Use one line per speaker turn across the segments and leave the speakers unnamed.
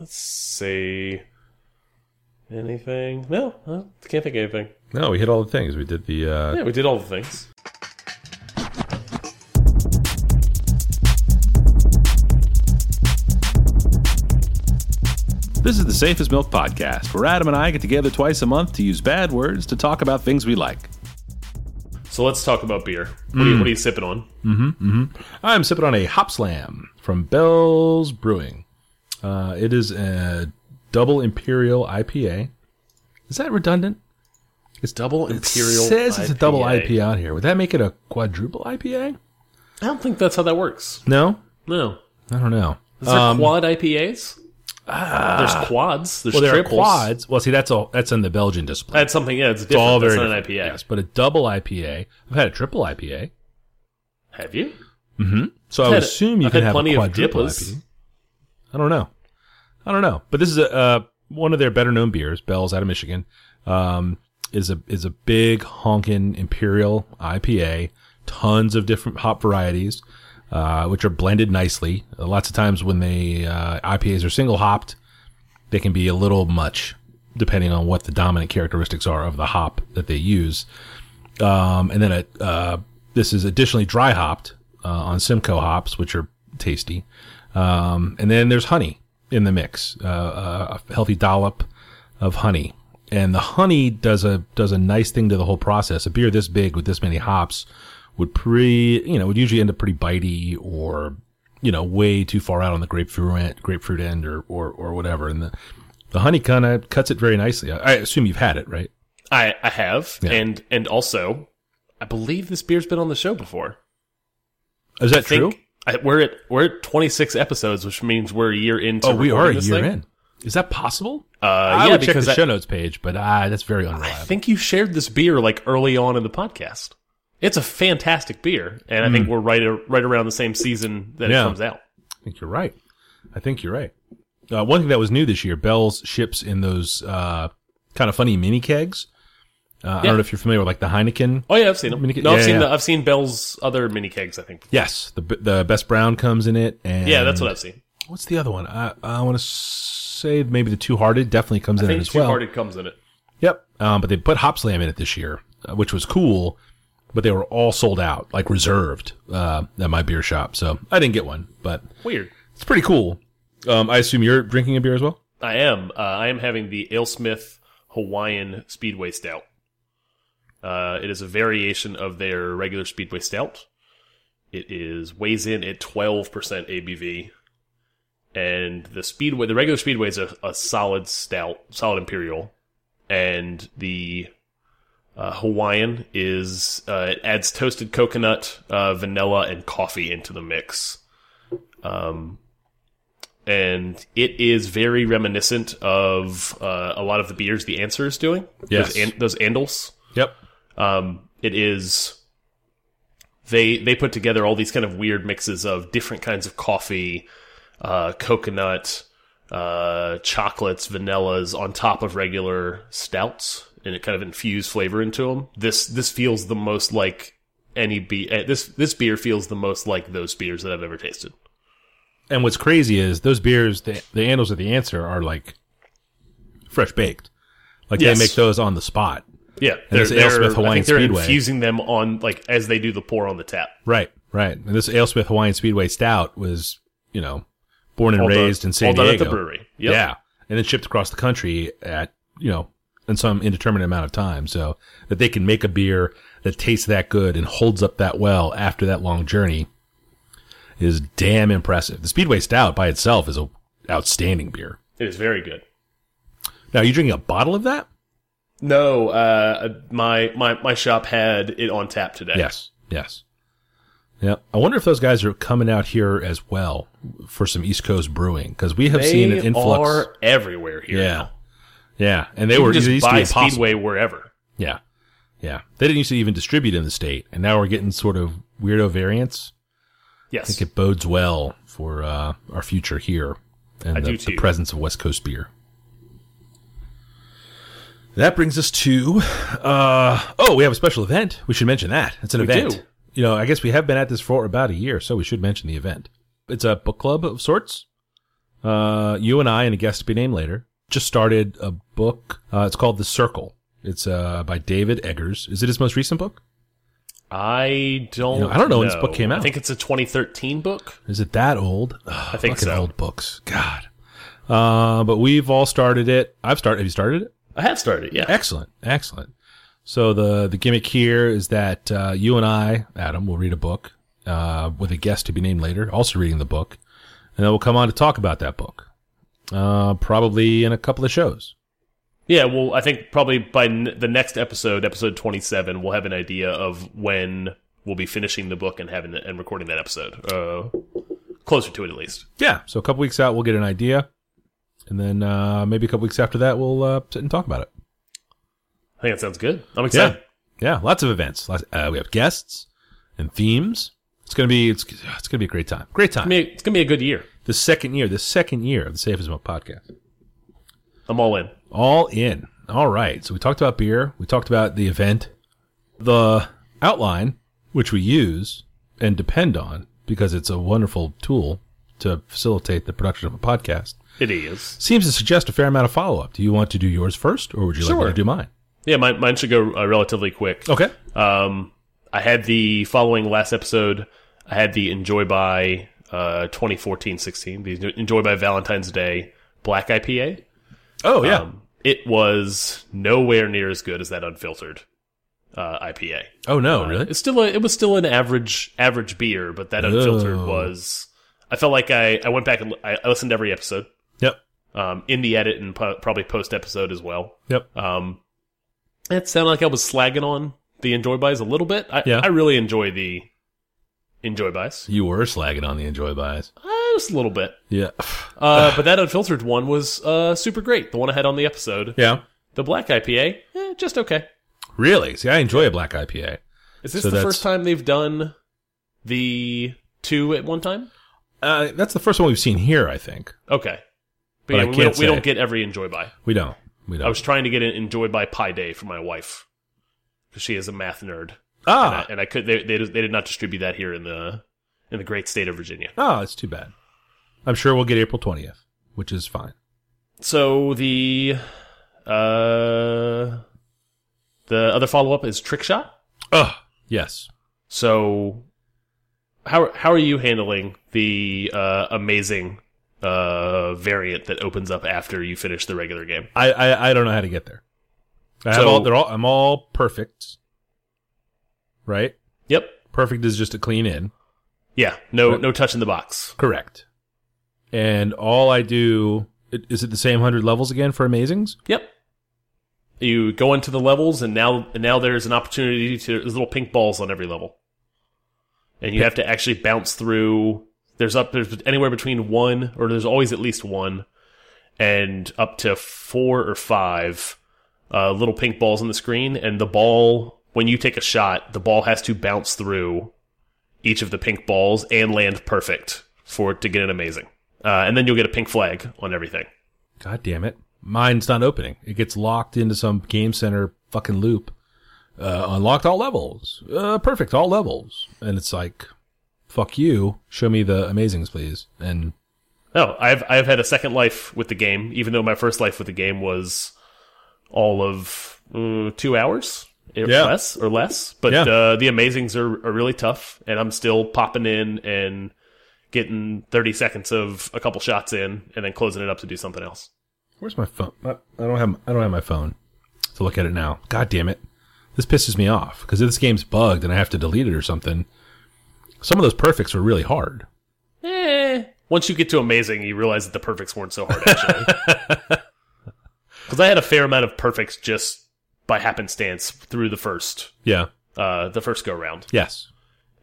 let's see. Anything? No, I can't think of anything.
No, we hit all the things. We did the uh,
Yeah, we did all the things.
This is the Safest Milk Podcast, where Adam and I get together twice a month to use bad words to talk about things we like.
So let's talk about beer. What, are, you, what are you sipping on?
I'm sipping on a Hop Slam from Bell's Brewing. Uh, it is a double imperial IPA. Is that redundant? It's
Double Imperial
It says it's a double
IPA.
IPA on here. Would that make it a quadruple IPA?
I don't think that's how that works.
No,
No.
I don't know.
Is there
Um,
quad IPAs? there's quads. There's
Well, there are
triples.
quads. Well, see, that's all. That's in the Belgian display.
That's something. Yeah, it's different.
It's all very
that's not an
different.
IPA.
Yes, but a double IPA. I've had a triple IPA.
Have you?
So I
I've
would
had-
assume you
I've
could
had
have
plenty
a
of
quadruple
Dippas.
IPA. I don't know. I don't know. But this is a uh, one of their better known beers. Bell's out of Michigan um, is a is a big honkin' imperial IPA. Tons of different hop varieties, uh, which are blended nicely. Uh, lots of times when they uh, IPAs are single hopped, they can be a little much depending on what the dominant characteristics are of the hop that they use. Um, and then a, uh, this is additionally dry hopped uh, on Simcoe hops, which are tasty. Um, and then there's honey in the mix, uh, a healthy dollop of honey. And the honey does a does a nice thing to the whole process. A beer this big with this many hops would pretty you know would usually end up pretty bitey or you know way too far out on the grapefruit end, grapefruit end or, or or whatever. And the the honey kind of cuts it very nicely. I, I assume you've had it, right?
I I have, and and also, I believe this beer's been on the show before.
Is that true?
Think- I, we're at we're at 26 episodes, which means we're a year into.
Oh, we are a
recording this
year
thing.
in. Is that possible?
Uh,
I
yeah,
would check
because
the
I,
show notes page, but uh, that's very
I
unreliable.
think you shared this beer like early on in the podcast. It's a fantastic beer, and I think we're right a, right around the same season that
Mm. Yeah.
it comes out.
I think you're right. I think you're right. Uh, one thing that was new this year, Bell's ships in those uh, kind of funny mini kegs. Uh, I don't know if you're familiar with like the Heineken.
Oh yeah, I've seen them.
Mini keg-
no, I've
yeah,
seen
yeah.
the I've seen Bell's other mini kegs. I think.
Yes, the b- the best brown comes in it, and
Yeah, that's what I've seen.
What's the other one? I I want to say maybe the two hearted definitely comes in
I
it
think
as well.
Two-Hearted comes in it.
Yep. Um, but they put Hop Slam in it this year, uh, which was cool. But they were all sold out, like reserved uh, at my beer shop. So I didn't get one, but
Weird.
it's pretty cool. Um, I assume you're drinking a beer as well.
I am. Uh, I am having the AleSmith Hawaiian Speedway Stout. Uh, it is a variation of their regular Speedway Stout. It is weighs in at twelve percent ABV, and the Speedway, the regular Speedway is a, a solid stout, solid imperial, and the uh, Hawaiian is uh, it adds toasted coconut, uh, vanilla, and coffee into the mix Um, and it is very reminiscent of uh, a lot of the beers the answer is doing.
Yes.
those, an those Andals.
Yep.
Um, it is. They they put together all these kind of weird mixes of different kinds of coffee, uh, coconut, uh, chocolates, vanillas on top of regular stouts, and it kind of infused flavor into them. This this feels the most like any be eh, this this beer feels the most like those beers that I've ever tasted.
And what's crazy is those beers, the the handles of the answer are like fresh baked. Like
Yes.
they make those on the spot.
Yeah,
this Alesmith
I
Hawaiian
think they're
Speedway.
infusing them on like as they do the pour on the tap.
Right. Right. And this AleSmith Hawaiian Speedway Stout was, you know, born and
All done-
raised in San
all done
Diego.
at the brewery. Yep.
Yeah. And then shipped across the country at, you know, in some indeterminate amount of time so that they can make a beer that tastes that good and holds up that well after that long journey is damn impressive. The Speedway Stout by itself is a outstanding beer.
it is very good.
Now, are you drinking a bottle of that?
No, uh, my my my shop had it on tap today.
Yes. Yes. Yeah. I wonder if those guys are coming out here as well for some East Coast brewing because we have
they
seen an influx.
are everywhere here.
yeah.
now.
Yeah. And they
you
were
can
it
just
used to
buy
be impossible.
Speedway wherever.
Yeah. Yeah. They didn't used to even distribute in the state, and now we're getting sort of weirdo variants. I
Yes,
think it bodes well for uh, our future here and
I
the,
do
the
too.
presence of West Coast beer. That brings us to uh, oh, we have a special event. We should mention that. It's an event.
do.
You know, I guess we have been at this for about a year, so we should mention the event. It's a book club of sorts. uh, you and I and a guest to be named later just started a book. Uh, it's called The Circle. It's uh, by David Eggers. Is it his most recent book?
I don't.
You know, I don't know when this book came
I
out.
think it's a 2013 book.
Is it that old? I
think so.
Old books. God. Uh, but we've all started it. I've started. Have you started it?
I have started. Yeah.
Excellent. Excellent. So the the gimmick here is that uh, you and I, Adam, will read a book uh, with a guest to be named later, also reading the book, and then we'll come on to talk about that book, uh, probably in a couple of shows.
Yeah. Well, I think probably by n the next episode, episode 27, we'll have an idea of when we'll be finishing the book and having and recording that episode. Uh, closer to it at least.
Yeah. So a couple weeks out, we'll get an idea, and then uh, maybe a couple weeks after that, we'll uh, sit and talk about it.
I think that sounds good. I'm excited.
Yeah, yeah, lots of events. Lots, uh, we have guests and themes. It's gonna be it's it's gonna be a great time. Great time.
I mean, it's gonna be a good year.
the second year, the second year of the Safe as Milk podcast.
I'm all in.
All in. All right. So we talked about beer. We talked about the event, the outline, which we use and depend on because it's a wonderful tool to facilitate the production of a podcast.
It is.
Seems to suggest a fair amount of follow up. Do you want to do yours first, or would you like
Sure.
me to do mine?
Yeah, mine, mine should go uh, relatively quick.
Okay.
Um, I had the following last episode, I had the Enjoy by uh, 2014 16, the Enjoy by Valentine's Day Black IPA.
Oh yeah.
Um, it was nowhere near as good as that unfiltered uh, IPA.
oh no, really?
Uh, It's still a, it was still an average average beer, but that unfiltered
Oh.
was. I felt like I, I went back and li- I I listened to every episode
Yep.
um, in the edit and po probably post episode as well.
Yep.
Um, it sounded like I was slagging on the enjoy buys a little bit. I,
Yeah.
I really enjoy the enjoy buys,
You were slagging on the enjoy buys.
uh, just a little bit.
Yeah.
Uh, but that unfiltered one was uh, super great. The one I had on the episode,
Yeah.
the black IPA, eh, just okay.
Really? See, I enjoy a black IPA.
Is this
So
the
that's-
first time they've done the two at one time?
Uh, that's the first one we've seen here, I think.
Okay, but,
But I
yeah, we,
can't
don't, we don't
say.
get every enjoy buy.
We don't. We don't.
I was trying to get an enjoy by Pi Day for my wife because she is a math nerd. and I,
ah,
and I could they, they they did not distribute that here in the in the great state of Virginia.
oh, it's too bad. I'm sure we'll get April 20th, which is fine.
So the uh the other follow up is trick shot.
Ugh. Yes.
So how how are you handling the uh, amazing uh variant that opens up after you finish the regular game?
I, I, I don't know how to get there. I have
So-
all, they're all, I'm all perfect. Right?
Yep.
Perfect is just a clean in.
Yeah. No no touch in the box.
Correct. And all I do, it- is it the same 100 levels again for Amazings?
Yep. You go into the levels, and now and now there's an opportunity to there's little pink balls on every level, and you have to actually bounce through. There's up there's anywhere between one or there's always at least one, and up to four or five uh, little pink balls on the screen, and the ball when you take a shot, the ball has to bounce through each of the pink balls and land perfect for it to get an amazing, uh, and then you'll get a pink flag on everything.
God damn it. Mine's not opening. It gets locked into some game center fucking loop. Uh, unlocked all levels. Uh, perfect, all levels. And it's like, fuck you. Show me the amazings, please. And
No, Oh, I've I've had a second life with the game, even though my first life with the game was all of mm, two hours, or
Yeah.
less or less. But
Yeah.
uh, the Amazings are, are really tough, and I'm still popping in and getting 30 seconds of a couple shots in, and then closing it up to do something else.
where's my phone? I, I don't have, I don't have my phone to look at it now. God damn it. This pisses me off because if this game's bugged and I have to delete it or something, some of those perfects were really hard.
Eh. Once you get to Amazing, you realize that the perfects weren't so hard actually. Because I had a fair amount of perfects just by happenstance through the first
Yeah.
uh, the first go round.
Yes.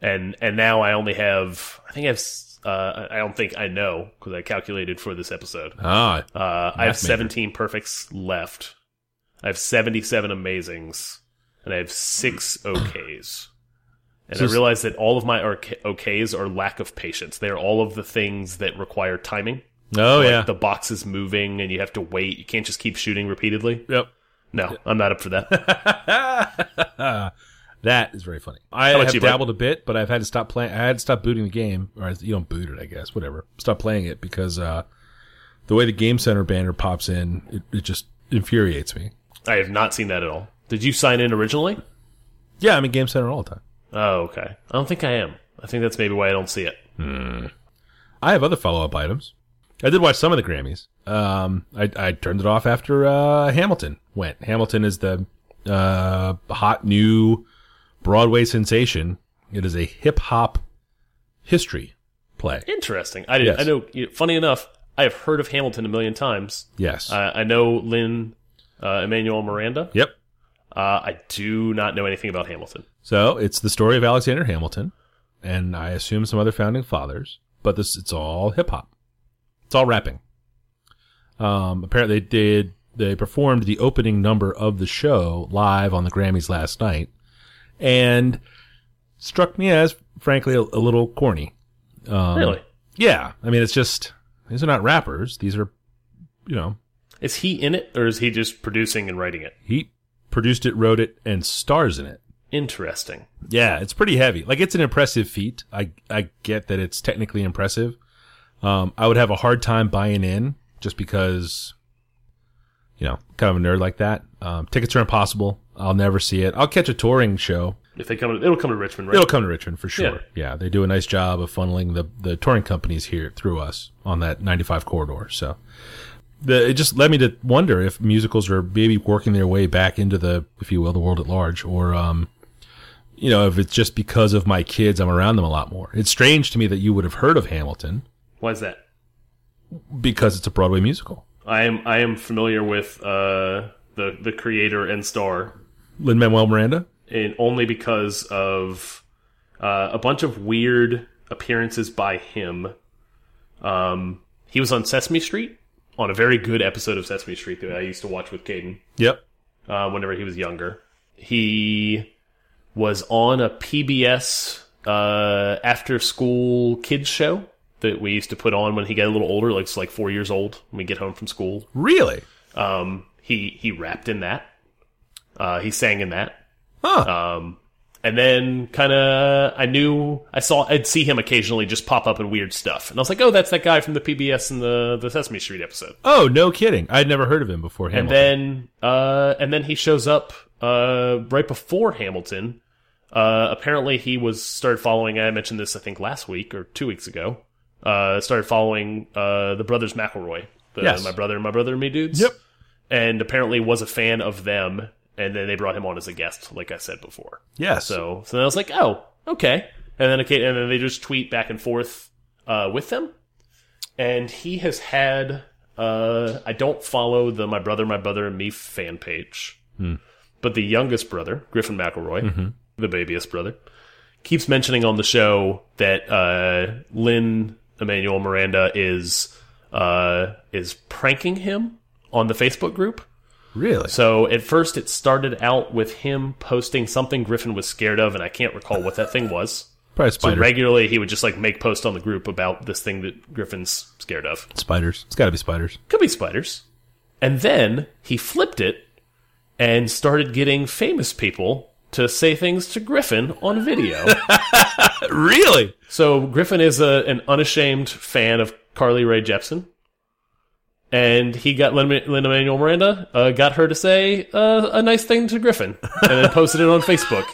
and and now I only have I think I have s- uh, I don't think I know because I calculated for this episode.
Ah,
Uh, I have
Math major.
17 perfects left. I have 77 amazings, and I have six OKs. And I
Just-
realize that all of my arc- OKs are lack of patience. They are all of the things that require timing.
oh yeah.
The box is moving, and you have to wait. You can't just keep shooting repeatedly.
yep.
No, I'm not up for that.
that is very funny. I
about
have
you, Mike?
dabbled a bit, but I've had to stop playing. I had to stop booting the game, or I- you don't boot it, I guess. Whatever. Stop playing it because uh, the way the Game Center banner pops in, it, it just infuriates me.
I have not seen that at all. Did you sign in originally?
Yeah, I'm in Game Center all the time.
Oh, okay. I don't think I am. I think that's maybe why I don't see it.
I have other follow up items. I did watch some of the Grammys. Um, I, I turned it off after uh, Hamilton went. Hamilton is the uh, hot new Broadway sensation. It is a hip hop history play.
Interesting. I didn't.
Yes.
I know. You funny enough, I have heard of Hamilton a million times.
Yes.
Uh, I know Lynn uh, Emmanuel Miranda.
yep.
Uh, I do not know anything about Hamilton.
So it's the story of Alexander Hamilton, and I assume some other founding fathers. But this it's all hip hop. It's all rapping. Um, apparently they did they performed the opening number of the show live on the Grammys last night, and struck me as frankly a, a little corny. Um,
really?
Yeah. I mean, it's just these are not rappers. These are, you know,
Is he in it, or is he just producing and writing it?
he produced it, wrote it, and stars in it.
Interesting.
Yeah, it's pretty heavy. Like it's an impressive feat. I I get that it's technically impressive. Um, I would have a hard time buying in just because, you know, kind of a nerd like that. Um, tickets are impossible. I'll never see it. I'll catch a touring show.
If they come, to, it'll come to Richmond, right?
It'll come to Richmond for sure. Yeah, they do a nice job of funneling the the touring companies here through us on that 95 corridor. So, the, it just led me to wonder if musicals are maybe working their way back into the, if you will, the world at large, or um, you know, if it's just because of my kids, I'm around them a lot more. It's strange to me that you would have heard of Hamilton
Why is that?
because it's a Broadway musical.
I am. I am familiar with uh, the the creator and star
Lin Manuel Miranda.
and only because of uh, a bunch of weird appearances by him. Um, he was on Sesame Street on a very good episode of Sesame Street that I used to watch with Caden
Yep.
uh, whenever he was younger. He was on a PBS uh, after school kids show that we used to put on when he got a little older, like it's like four years old when we get home from school.
Really?
Um, he he rapped in that. Uh, he sang in that.
Huh.
Um, and then kind of I knew I saw I'd see him occasionally just pop up in weird stuff, and I was like, oh, that's that guy from the PBS and the the Sesame Street episode.
oh, no kidding. I'd never heard of him before Hamilton.
And then uh, and then he shows up uh, right before Hamilton. Uh, apparently, he was started following. I mentioned this I think last week or two weeks ago. Uh, started following uh, the brothers McElroy, the
Yes.
my brother and my brother and me dudes.
Yep.
And apparently was a fan of them, and then they brought him on as a guest, like I said before.
yeah.
So, so then I was like, oh, okay. And then, okay, and then they just tweet back and forth uh, with them. And he has had. Uh, I don't follow the my brother, my brother and me fan page, but the youngest brother, Griffin McElroy, the babyest brother, keeps mentioning on the show that uh, Lynn Emmanuel Miranda is uh, is pranking him on the Facebook group.
really?
So at first, it started out with him posting something Griffin was scared of, and I can't recall what that thing was.
Probably a spider.
Regularly, he would just like make posts on the group about this thing that Griffin's scared of.
spiders. It's got to be spiders.
Could be spiders. And then he flipped it and started getting famous people to say things to Griffin on video.
Really?
So Griffin is a, an unashamed fan of Carly Rae Jepsen, and he got Lin Manuel Miranda uh, got her to say uh, a nice thing to Griffin, and then posted it on Facebook.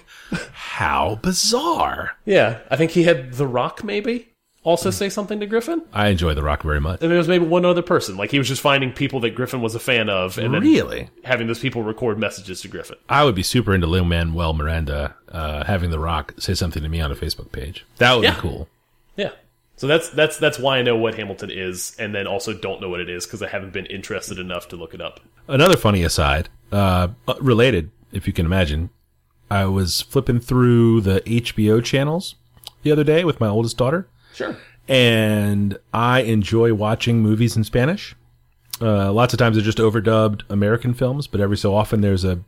How bizarre.
Yeah, I think he had The Rock maybe also say something to Griffin,
I enjoy The Rock very much.
and there was maybe one other person. Like he was just finding people that Griffin was a fan of, and then
Really?
having those people record messages to Griffin.
I would be super into Lin Manuel Miranda uh, having The Rock say something to me on a Facebook page. That would
Yeah.
be cool.
Yeah. So that's that's that's why I know what Hamilton is, and then also don't know what it is because I haven't been interested enough to look it up.
Another funny aside, uh, uh, related, if you can imagine, I was flipping through the HBO channels the other day with my oldest daughter,
Sure.
and I enjoy watching movies in Spanish. Uh, lots of times they're just overdubbed American films, but every so often there's a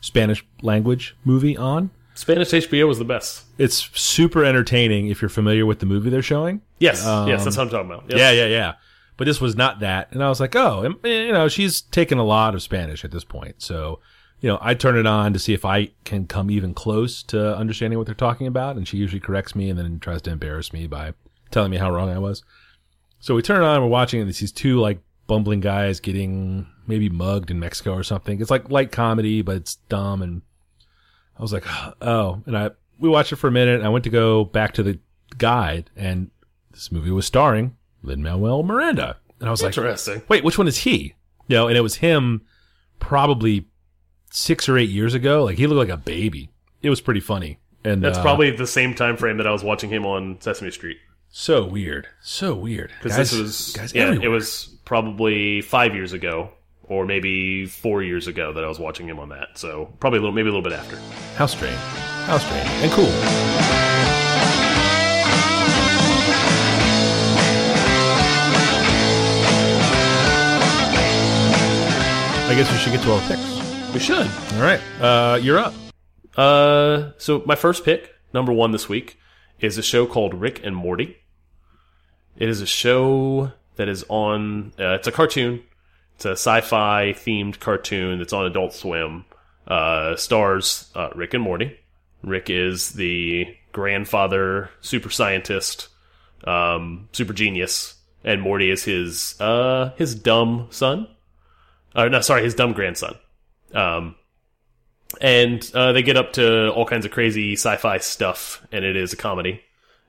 Spanish language movie on.
Spanish HBO was the best.
It's super entertaining if you're familiar with the movie they're showing.
Yes, yes, that's what I'm talking about. Yep.
Um, Yeah, yeah, yeah. But this was not that. And I was like, oh, and, eh, you know, she's taken a lot of Spanish at this point. So, you know, I turn it on to see if I can come even close to understanding what they're talking about. And she usually corrects me and then tries to embarrass me by telling me how wrong I was. So we turn it on, we're watching, and it's these two, like, bumbling guy is getting maybe mugged in Mexico or something. It's like light comedy, but it's dumb. And I was like, oh, and I, we watched it for a minute. And I went to go back to the guide and this movie was starring Lin Manuel Miranda. And I was like,
Interesting.
wait, which one is he? You know, and it was him probably six or eight years ago. Like he looked like a baby. It was pretty funny. And
That's
uh,
probably the same time frame that I was watching him on Sesame Street.
so weird. So weird.
Because
Guys-
this was
guys
yeah,
everywhere.
it was probably five years ago or maybe four years ago that I was watching him on that. So probably a little, maybe a little bit after.
How strange. How strange. And cool. I guess we should get to our picks.
We should.
All right. Uh, you're up.
Uh, so my first pick, number one this week, is a show called Rick and Morty. It is a show that is on. Uh, it's a cartoon. It's a sci-fi themed cartoon that's on Adult Swim. Uh, stars uh, Rick and Morty. Rick is the grandfather, super scientist, um, super genius, and Morty is his uh, his dumb son. Uh, no, sorry, his dumb grandson. Um, and uh, they get up to all kinds of crazy sci-fi stuff, and it is a comedy,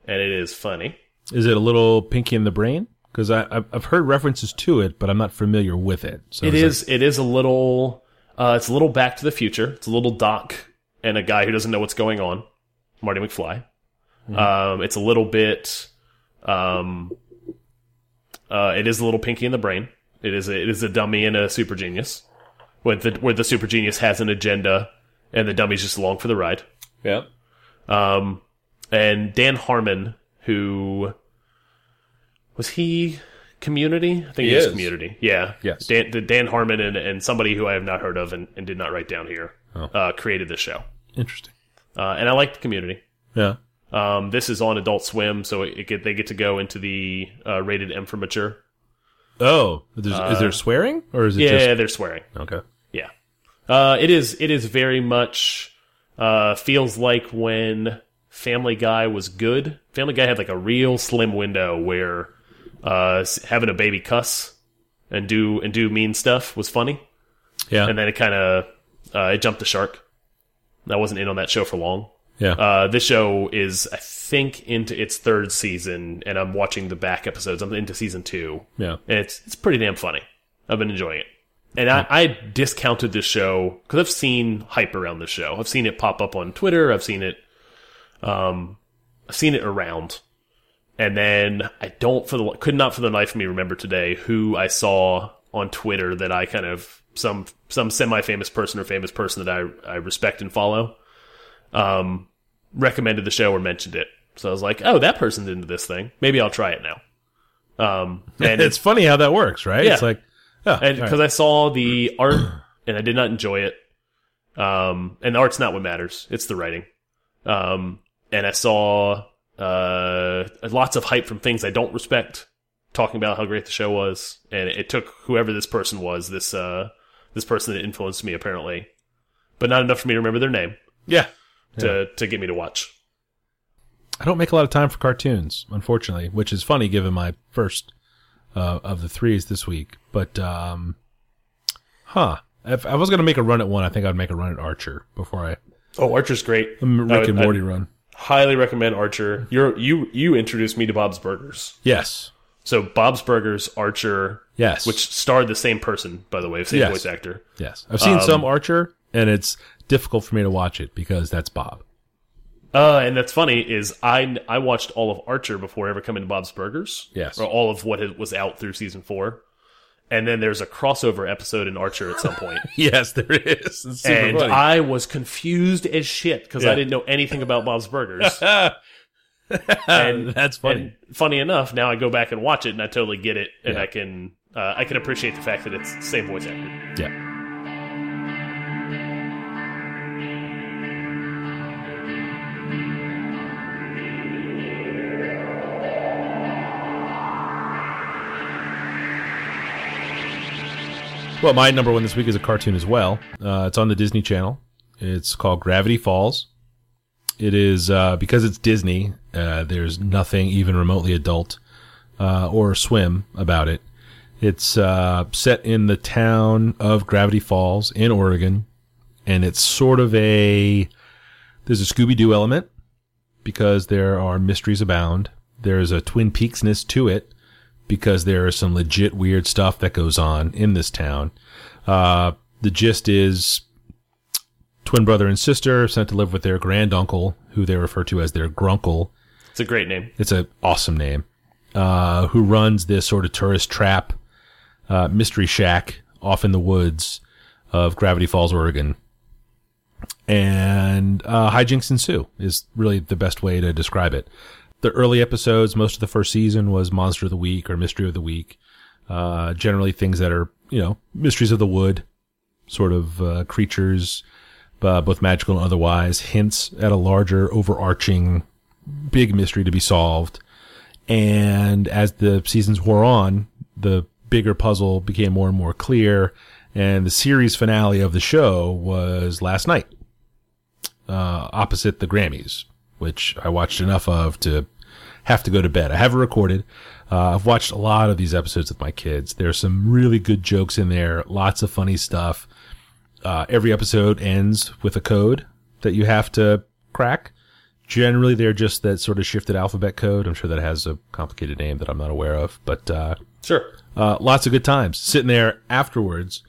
and it is funny.
Is it a little pinky in the brain? Because I've heard references to it, but I'm not familiar with it. So
It is. It is a little. Uh, it's a little Back to the Future. It's a little Doc and a guy who doesn't know what's going on, Marty McFly. Um, it's a little bit. Um, uh, it is a little Pinky in the Brain. It is. A, it is a dummy and a super genius, where the where the super genius has an agenda, and the dummy's just along for the ride.
Yeah.
Um, and Dan Harmon, who was he Community? I think
He
he, was
is.
Community. Yeah.
Yes.
Dan, the- Dan Harmon and, and somebody who I have not heard of and, and did not write down here
Oh.
uh, created this show,
Interesting.
uh, and I liked Community.
Yeah.
Um, this is on Adult Swim, so it, it get, they get to go into the uh, rated M for mature.
Oh, there's, is there swearing or is it
Yeah,
just
they're swearing.
okay?
Yeah. Uh, it is. It is very much uh, feels like when Family Guy was good. Family Guy had like a real slim window where uh, s- having a baby cuss and do and do mean stuff was funny,
Yeah.
and then it kind of uh, it jumped the shark. I wasn't in on that show for long.
yeah.
Uh, this show is, I think, into its third season, and I'm watching the back episodes. I'm into season two.
yeah.
And it's it's pretty damn funny. I've been enjoying it. And I, I discounted this show because I've seen hype around this show. I've seen it pop up on Twitter. I've seen it, um, I've seen it around. And then I don't for the could not for the life of me remember today who I saw on Twitter that I kind of some some semi famous person or famous person that I I respect and follow, um, recommended the show or mentioned it. So I was like, oh, that person's into this thing. Maybe I'll try it now. Um, and
And it's funny how that works, right?
Yeah.
It's like, oh,
and
all right.
because I saw the art and I did not enjoy it. Um, and the art's not what matters; it's the writing. Um, and I saw uh lots of hype from things I don't respect, talking about how great the show was, and it took whoever this person was, this uh this person that influenced me apparently, but not enough for me to remember their name
yeah,
to to get me to watch.
I don't make a lot of time for cartoons, unfortunately, which is funny given my first uh, of the threes this week. But, um, huh. If I was going to make a run at one, I think I'd make a run at Archer before I
Oh, Archer's great.
um,
I
Rick
would-
and
I'd
Morty run.
highly recommend Archer. You're, you you introduced me to Bob's Burgers.
Yes.
So Bob's Burgers, Archer,
Yes.
which starred the same person, by the way, same
Yes.
voice actor.
yes. I've seen some Archer, and it's difficult for me to watch it because that's Bob.
Uh, and that's funny is I I watched all of Archer before ever coming to Bob's Burgers.
Yes.
or all of what it was out through season four, and then there's a crossover episode in Archer at some point,
Yes, there is. It's super
and
funny.
I was confused as shit because
Yeah.
I didn't know anything about Bob's Burgers.
and, that's funny.
and funny enough, now I go back and watch it, and I totally get it, and I can uh, I can appreciate the fact that it's the same voice actor.
Yeah. Well, my number one this week is a cartoon as well. Uh, it's on the Disney Channel. It's called Gravity Falls. It is uh, because it's Disney. Uh, there's nothing even remotely adult uh, or swim about it It's uh, set in the town of Gravity Falls in Oregon, and it's sort of a there's a Scooby Doo element because there are mysteries abound. There's a Twin Peaksness to it because there is some legit weird stuff that goes on in this town. Uh, the gist is twin brother and sister sent to live with their granduncle, who they refer to as their grunkle.
It's a great name.
It's an awesome name. Uh, who runs this sort of tourist trap uh, mystery shack off in the woods of Gravity Falls, Oregon. And uh, hijinks ensue is really the best way to describe it. The early episodes, most of the first season was Monster of the Week or Mystery of the Week. Uh, generally things that are, you know, mysteries of the wood, sort of uh, creatures, uh, both magical and otherwise, hints at a larger overarching big mystery to be solved. And as the seasons wore on, the bigger puzzle became more and more clear. And the series finale of the show was last night, uh, opposite the Grammys, which I watched enough of to have to go to bed. I have it recorded. Uh, I've watched a lot of these episodes with my kids. There's some really good jokes in there, lots of funny stuff. Uh, every episode ends with a code that you have to crack. Generally, they're just that sort of shifted alphabet code. I'm sure that has a complicated name that I'm not aware of, but uh,
Sure.
uh, lots of good times sitting there afterwards.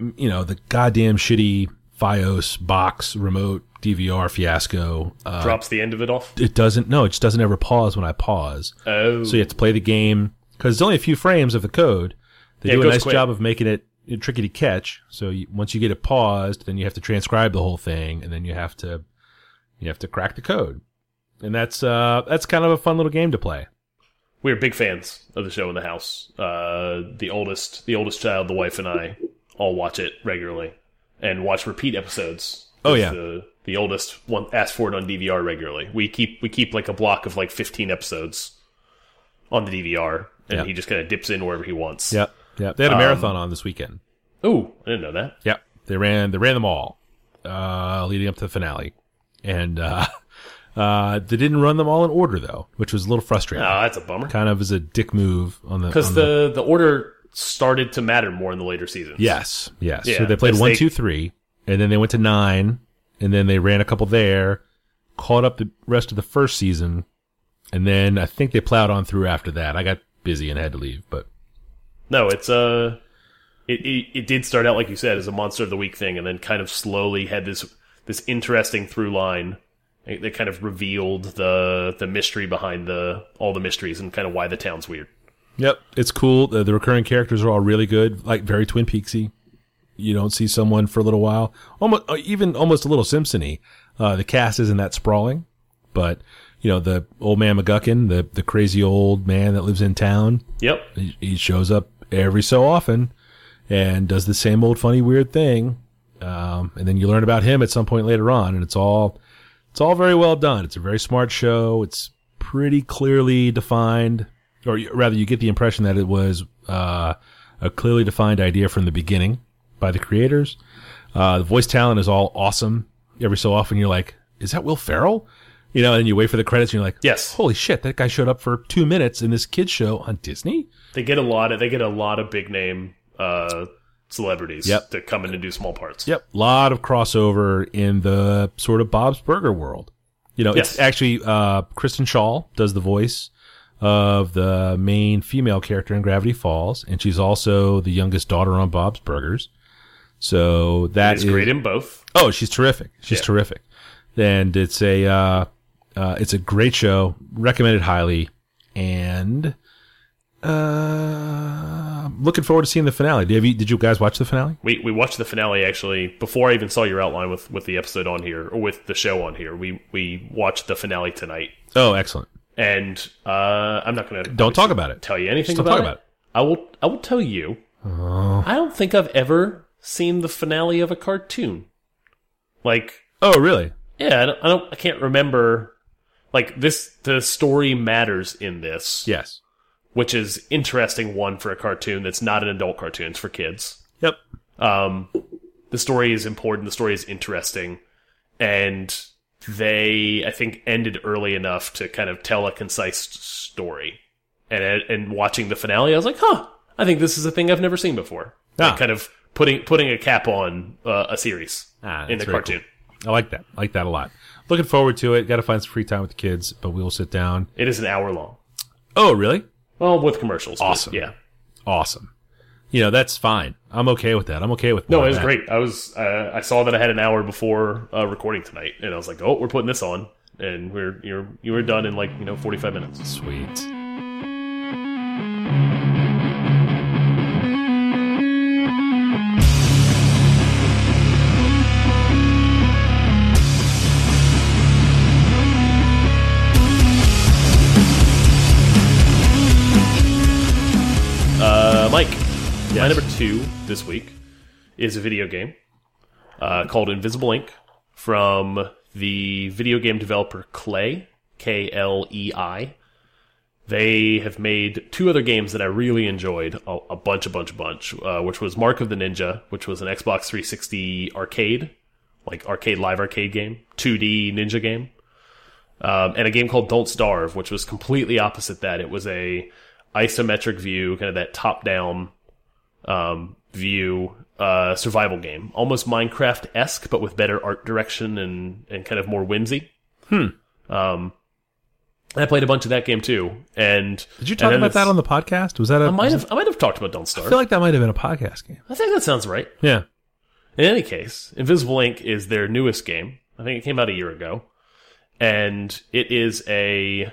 m- You know, the goddamn shitty FiOS box remote DVR fiasco. Uh,
Drops the end of it off.
it doesn't, no, it just doesn't ever pause when I pause.
Oh,
So you have to play the game because it's only a few frames of the code. They
Yeah, it
do a
goes
nice
quick.
job of making it tricky to catch. So you, once you get it paused, then you have to transcribe the whole thing, and then you have to you have to crack the code. And that's uh that's kind of a fun little game to play.
we're big fans of the show in the house. Uh, the oldest, the oldest child, the wife and I all watch it regularly and watch repeat episodes.
Oh, yeah.
The, the oldest one asks for it on DVR regularly. We keep we keep like a block of like 15 episodes on the DVR, and
Yeah.
he just kind of dips in wherever he wants.
Yep, yep.
Um,
They had a marathon on this weekend.
Oh, I didn't know that.
Yep. They ran they ran them all uh, leading up to the finale, and uh, uh, they didn't run them all in order though, which was a little frustrating.
Ah, that's a bummer.
Kind of as a dick move on the
Because
on
the the order started to matter more in the later seasons.
Yes, yes.
Yeah,
so they played
as
one,
they-
two, three, and then they went to nine, and then they ran a couple there, caught up the rest of the first season, and then I think they plowed on through after that. I got busy and had to leave, but
No, it's uh it, it it did start out like you said as a monster of the week thing, and then kind of slowly had this this interesting through line that that kind of revealed the the mystery behind the all the mysteries and kind of why the town's weird.
yep, it's cool. The, the recurring characters are all really good, like very Twin Peaksy. You don't see someone for a little while, almost uh, even almost a little Simpson-y. Uh, the cast isn't that sprawling, but you know the old man McGuckin, the the crazy old man that lives in town.
Yep,
he he shows up every so often and does the same old funny weird thing um, and then you learn about him at some point later on and it's all it's all very well done it's a very smart show it's pretty clearly defined or you- rather you get the impression that it was uh, a clearly defined idea from the beginning by the creators uh, the voice talent is all awesome every so often you're like is that will ferrell you know and you wait for the credits and you're like
Yes.
holy shit that guy showed up for two minutes in this kid show on disney
they get a lot of they get a lot of big name uh celebrities
Yep.
to come in and do small parts.
Yep. A lot of crossover in the sort of Bob's Burger world. You know,
Yes.
it's actually uh, Kristen Shaw does the voice of the main female character in Gravity Falls, and she's also the youngest daughter on Bob's Burgers. So that
It's
is-
great in both.
Oh, she's terrific. She's
Yeah.
terrific. And it's a uh, uh, it's a great show. Recommended highly. And uh, I'm looking forward to seeing the finale. Did you, did you guys watch the finale?
We we watched the finale actually before I even saw your outline with with the episode on here or with the show on here. We we watched the finale tonight,
Oh, excellent.
and uh I'm not gonna
Don't talk about it.
tell you anything
Just don't
about,
talk
it. I will. I will tell you.
Oh,
I don't think I've ever seen the finale of a cartoon. Like,
Oh, really?
yeah, I don't. I, don't, I can't remember. Like this, the story matters in this,
Yes.
which is interesting. One for a cartoon that's not an adult cartoon; it's for kids.
Yep.
Um, the story is important. The story is interesting, and they, I think, ended early enough to kind of tell a concise s- story. And and watching the finale, I was like, "Huh, I think this is a thing I've never seen before.
Ah.
Like kind of putting putting a cap on uh, a series
Ah,
in
that's
the
very
cartoon.
I like that. I like that a lot. Looking forward to it. Got to find some free time with the kids, but we will sit down.
It is an hour long.
Oh, really?
Well, with commercials. but
Awesome.
Yeah.
Awesome. You know, that's fine. I'm okay with that. I'm okay with
No,
more
it
of
was
that.
great. I was uh, I saw that I had an hour before uh, recording tonight, and I was like, oh, we're putting this on, and we're you're you were done in like you know forty five minutes.
Sweet.
Uh, Mike, my number two this week is a video game uh, called Invisible Ink from the video game developer Clay, K L E I. They have made two other games that I really enjoyed a, a bunch, a bunch, a bunch, uh, which was Mark of the Ninja, which was an Xbox 360 arcade, like arcade, live arcade game, 2D ninja game um, and a game called Don't Starve, which was completely opposite that. It was a isometric view, kind of that top down um, view uh, survival game, almost Minecraft esque, but with better art direction and and kind of more whimsy. Hmm. Um, I played a bunch of that game too, and
Did you talk about that on the podcast? Was that a?
I might have I might have talked about Don't
I
Starve.
feel like that might have been a podcast game.
I think that sounds right.
Yeah.
In any case, Invisible Ink is their newest game. I think it came out a year ago. And it is a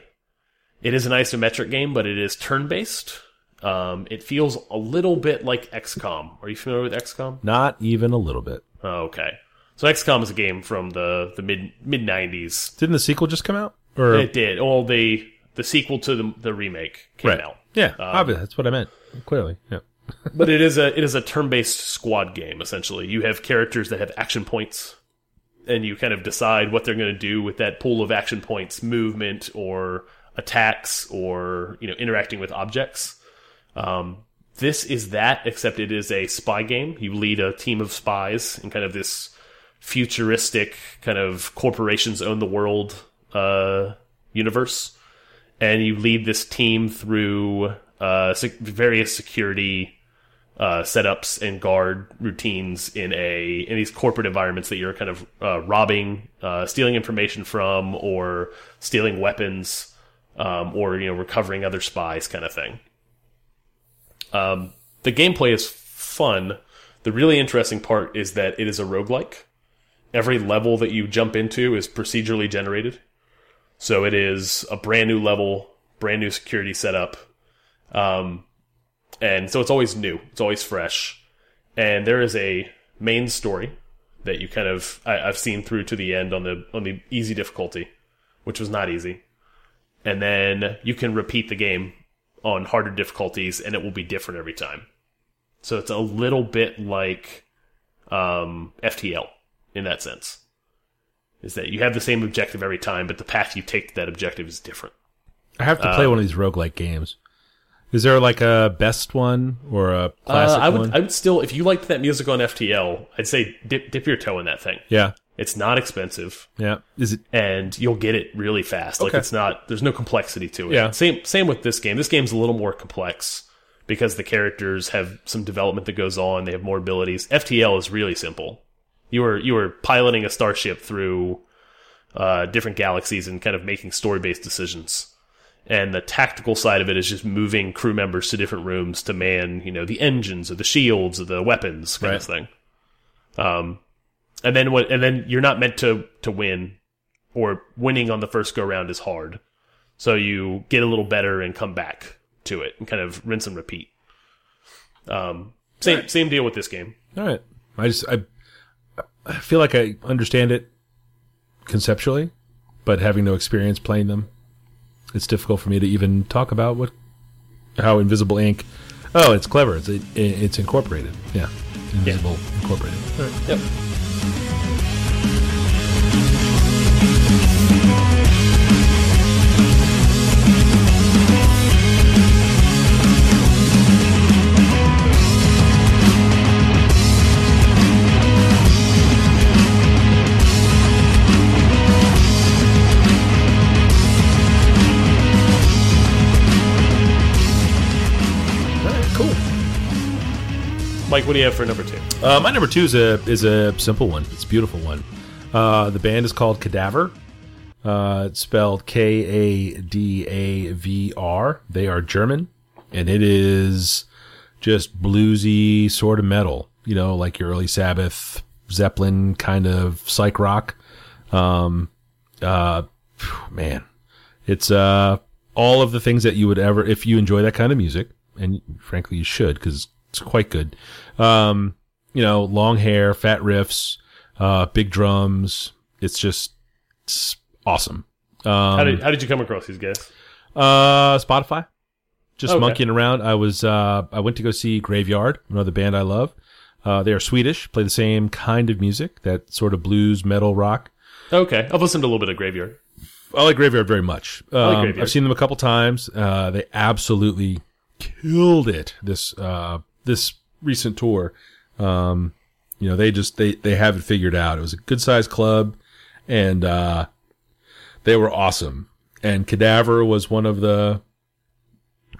it is an isometric game, but it is turn-based. Um, it feels a little bit like XCOM. Are you familiar with XCOM?
Not even a little bit.
Oh, okay. So XCOM is a game from the the mid mid 90s.
Didn't the sequel just come out? Or
It did. Well, the the sequel to the the remake came out. Um,
Yeah. obviously, that's what I meant. Clearly. Yeah.
But it is a it is a turn based squad game essentially. You have characters that have action points, and you kind of decide what they're going to do with that pool of action points, movement or attacks, or you know interacting with objects. Um, this is that, except it is a spy game. You lead a team of spies in kind of this futuristic kind of corporations own the world uh, universe and you lead this team through uh, sec various security uh, setups and guard routines in a in these corporate environments that you're kind of uh, robbing, uh, stealing information from, or stealing weapons, um, or you know recovering other spies, kind of thing. Um, the gameplay is fun. The really interesting part is that it is a roguelike. Every level that you jump into is procedurally generated. So it is a brand new level, brand new security setup. Um, and so it's always new, it's always fresh. And there is a main story that you kind of I, I've seen through to the end on the on the easy difficulty, which was not easy. And then you can repeat the game on harder difficulties and it will be different every time. So it's a little bit like um, FTL in that sense is that you have the same objective every time, but the path you take to that objective is different.
I have to play
uh,
one of these roguelike games. Is there like a best one or a classic
Uh, I would,
one?
I would still, if you liked that music on FTL, I'd say dip, dip your toe in that thing.
yeah.
It's not expensive,
Yeah. Is it?
and you'll get it really fast. Like
Okay.
it's not, there's no complexity to it.
Yeah.
Same, same with this game. This game's a little more complex because the characters have some development that goes on. They have more abilities. FTL is really simple. You were, you were piloting a starship through uh, different galaxies and kind of making story based decisions. and the tactical side of it is just moving crew members to different rooms to man, you know, the engines or the shields or the weapons kind of thing. Um, and then what? And then you're not meant to to win, or winning on the first go round is hard. So you get a little better and come back to it and kind of rinse and repeat. Um, same same deal with this game.
All right. I just I I feel like I understand it conceptually, but having no experience playing them, it's difficult for me to even talk about what how Invisible Ink. Oh, it's clever. It's it, it's incorporated. Yeah. Invisible incorporated. All right.
Yep.
All right, cool.
Mike, what do you have for number two?
Uh, my number two is a is a simple one. It's a beautiful one. Uh, the band is called Cadaver. Uh, it's spelled K A D A V R. They are German, and it is just bluesy sort of metal. You know, like your early Sabbath, Zeppelin kind of psych rock. Um, uh, phew, man, it's uh all of the things that you would ever if you enjoy that kind of music, and frankly you should because it's quite good. Um, you know, long hair, fat riffs, uh, big drums. It's just it's awesome. Um,
How did, how did you come across these guys?
uh, Spotify. Just
Okay.
monkeying around. I was uh, I went to go see Graveyard, another band I love. Uh, they are Swedish, play the same kind of music, that sort of blues, metal, rock.
Okay, I've listened to a little bit of Graveyard.
I like Graveyard very much. Um,
like Graveyard.
I've seen them a couple times. Uh, they absolutely killed it this uh, this recent tour. Um, you know, they just they they have it figured out. It was a good sized club, and uh, they were awesome. And Cadaver was one of the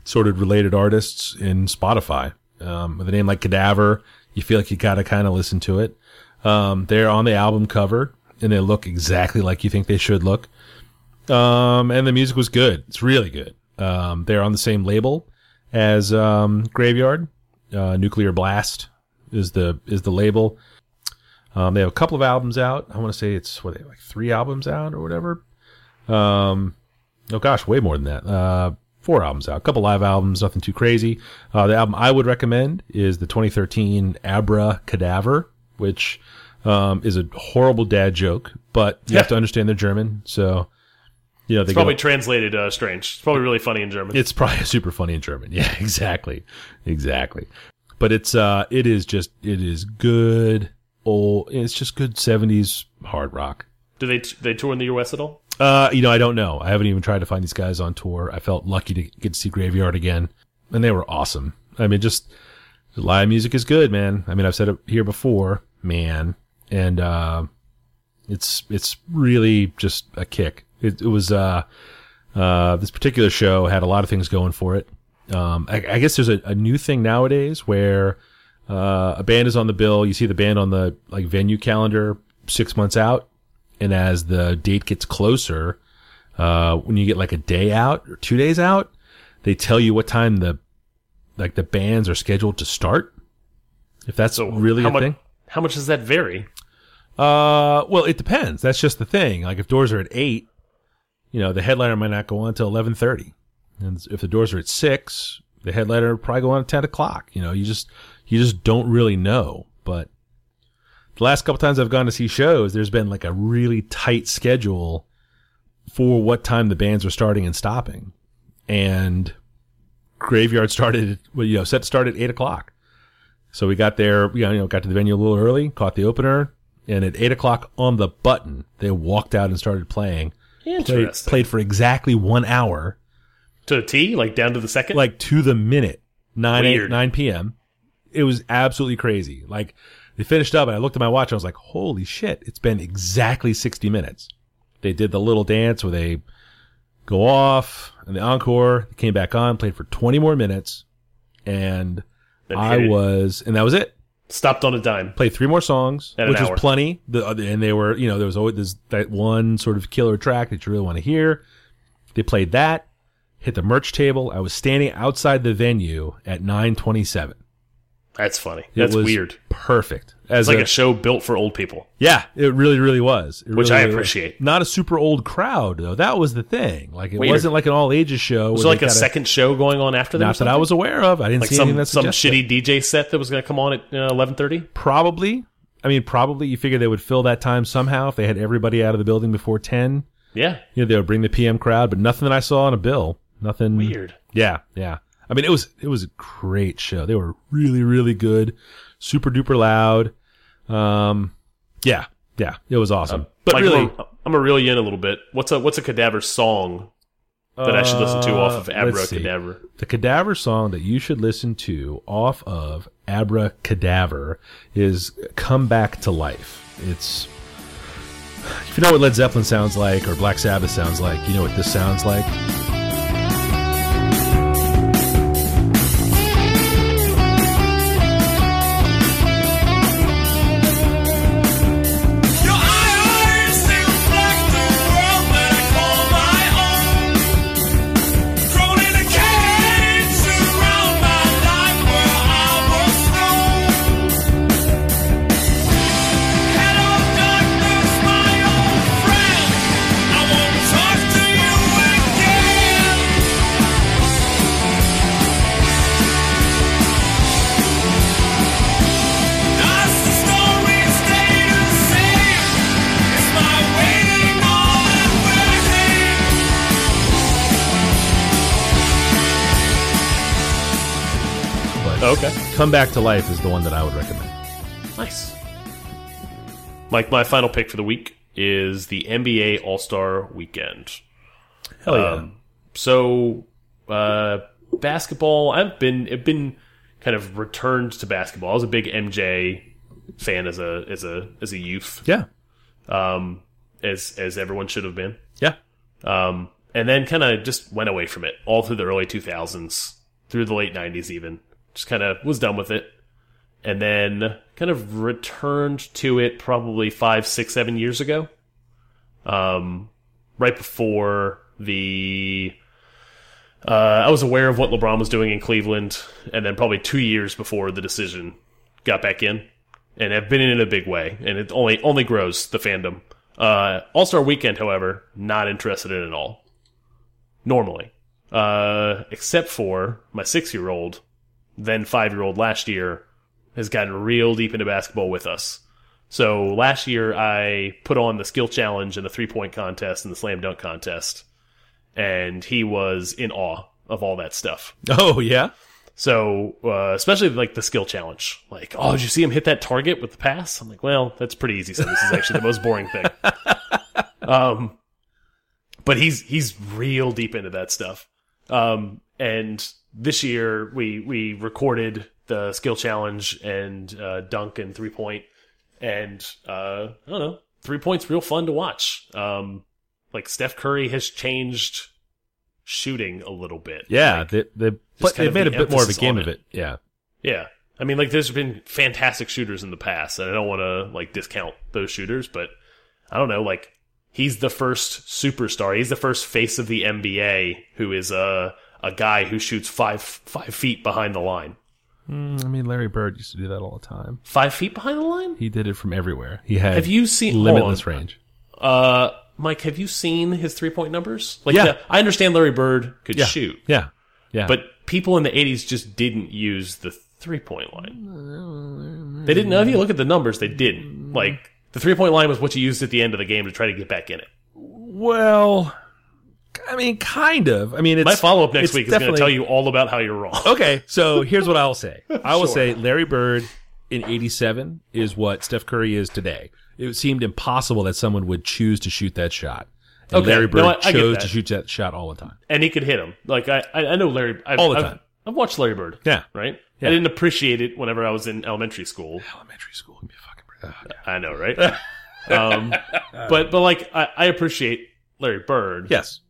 sort of related artists in Spotify. Um, with a name like Cadaver, you feel like you gotta kind of listen to it. Um, they're on the album cover, and they look exactly like you think they should look. Um, and the music was good. It's really good. Um, they're on the same label as um, Graveyard. Uh, Nuclear Blast is the is the label. Um, they have a couple of albums out. I want to say it's what they have, like three albums out or whatever. Um, oh gosh, way more than that. Uh, four albums out, a couple live albums, nothing too crazy. Uh, the album I would recommend is the 2013 Abra Cadaver, which um, is a horrible dad joke, but you have to understand they're German, so you know they go-
Probably translated uh, strange. It's probably really funny in German.
it's probably super funny in German. Yeah, exactly. Exactly. But it's uh it is just it is good old it's just good 70s hard rock.
Do they they tour in the U.S. at all?
Uh you know, I don't know. I haven't even tried to find these guys on tour. I felt lucky to get to see Graveyard again and they were awesome. I mean, just live music is good, man. I mean, I've said it here before, man. And uh it's it's really just a kick. It, it was uh uh, this particular show had a lot of things going for it. Um, I, I guess there's a, a new thing nowadays where uh, a band is on the bill. You see the band on the like venue calendar six months out, and as the date gets closer, uh, when you get like a day out or two days out, they tell you what time the like the bands are scheduled to start. If that's really
how
a
much,
thing.
How much does that vary?
Uh, well, it depends. That's just the thing. Like if doors are at eight, you know, the headliner might not go on until eleven thirty, and if the doors are at six, the headliner will probably go on at ten o'clock. You know, you just you just don't really know. But the last couple times I've gone to see shows, there's been like a really tight schedule for what time the bands are starting and stopping, and Graveyard started well, you know, set to start at eight o'clock. So we got there, you know, got to the venue a little early, caught the opener, and at eight o'clock on the button, they walked out and started playing. Played,
Interesting.
played for exactly one hour,
to a T, like down to the second.
like to the minute, nine eight,
Weird.
nine p.m. It was absolutely crazy. Like they finished up, and I looked at my watch. I was like, "Holy shit! It's been exactly sixty minutes." They did the little dance where they go off, and the encore they came back on, played for twenty more minutes, and
Then hit
I
it.
was, and that was it
stopped on a dime.
play three more songs,
At an
which is
hour.
plenty. The other, and they were, you know, there was always this, that one sort of killer track that you really want to hear. They played that, hit the merch table. I was standing outside the venue at 9:27.
That's funny.
It
That's
was
weird.
Perfect.
It's
As
like
a-
a show built for old people.
yeah, it really, really was. It
Which
really,
I
really was.
appreciate.
Not a super old crowd though. That was the thing. Like it
Weird.
wasn't like an all ages show.
Was
where
there like
they
a
gotta-
second show going on after that? or
Not that I was aware of. I didn't see
something?
anything
Like
that
some some shitty
suggested.
DJ set that was going to come on at uh, eleven thirty.
Probably. I mean, probably. You figure they would fill that time somehow if they had everybody out of the building before ten.
Yeah,
you know, they would bring the PM crowd, but nothing that I saw on a bill. Nothing
weird.
Yeah, yeah. I mean, it was it was a great show. They were really, really good, super duper loud. Um, yeah, yeah, it was
Uh,
awesome. but
Mike,
really,
I'm, I'm gonna reel you in a little bit. What's a what's a cadaver song that I should listen to off of
Uh, let's
Abra
see.
Cadaver?
The cadaver song that you should listen to off of Abra Cadaver is Come Back to Life. It's if you know what Led Zeppelin sounds like or Black Sabbath sounds like, you know what this sounds like.
Oh, Okay.
Come Back to Life is the one that I would recommend.
Nice. Mike, my final pick for the week is the NBA All Star Weekend.
Hell yeah.
Um, so uh, basketball, I've been I've been kind of returned to basketball. I was a big MJ fan as a as a as a youth,
yeah.
um, as as everyone should have been.
Yeah.
Um, and then kind of just went away from it all through the early 2000s, through the late 90s, even. Just kind of was done with it. And then kind of returned to it probably five, six, seven years ago. Um, right before the. Uh, I was aware of what LeBron was doing in Cleveland, and then probably two years before the decision got back in, and have been in it a big way, and it only only grows the fandom. Uh, All Star Weekend, however, not interested in it at all. Normally, uh, except for my six year old, then five year old last year, has gotten real deep into basketball with us. So last year, I put on the skill challenge and the three point contest and the slam dunk contest, and he was in awe of all that stuff.
Oh, yeah.
So, uh, especially like the skill challenge. Like, oh, did you see him hit that target with the pass? I'm like, well, that's pretty easy. So this is actually the most boring thing. Um, but he's he's real deep into that stuff. Um, and this year we we recorded the skill challenge and uh, dunk and three point, and uh, I don't know, three points real fun to watch. Um, like Steph Curry has changed shooting a little bit.
Yeah. they they
kind
but they
of
made a
the
bit more of a
emphasis
game
on
of it. Yeah.
Yeah. I mean, like, there's been fantastic shooters in the past, and I don't want to, like, discount those shooters, but I don't know, like, he's the first superstar. He's the first face of the NBA who is a, a guy who shoots five, five feet behind the line.
I mean, Larry Bird used to do that all the time.
Five feet behind the line?
He did it from everywhere. He had
Have you seen hold
limitless
on.
range.
Uh, Mike, have you seen his three point numbers? Like,
Yeah.
the- I understand Larry Bird could
Yeah.
shoot,
Yeah. Yeah.
but people in the 80s just didn't use the three point line. They didn't. If you look at the numbers, they didn't. Like, the three point line was what you used at the end of the game to try to get back in it.
well, I mean, kind of. I mean, it's
My follow up next
it's
week is going to
definitely-
tell you all about how you're wrong.
Okay, so here's what I'll say. I will say Larry Bird in 87 is what Steph Curry is today. It seemed impossible that someone would choose to shoot that shot. And
Okay,
Larry Bird
no, I- I get
chose
that.
to shoot that shot all the time.
And he could hit him. Like, I, I I know Larry. I've,
All the
I've-
time.
I've, watched Larry Bird.
Yeah.
Right?
Yeah.
I didn't appreciate it whenever I was in elementary school.
Elementary school can be fucking oh,
I know, right? um, but, but like, I, I appreciate Larry Bird.
Yes.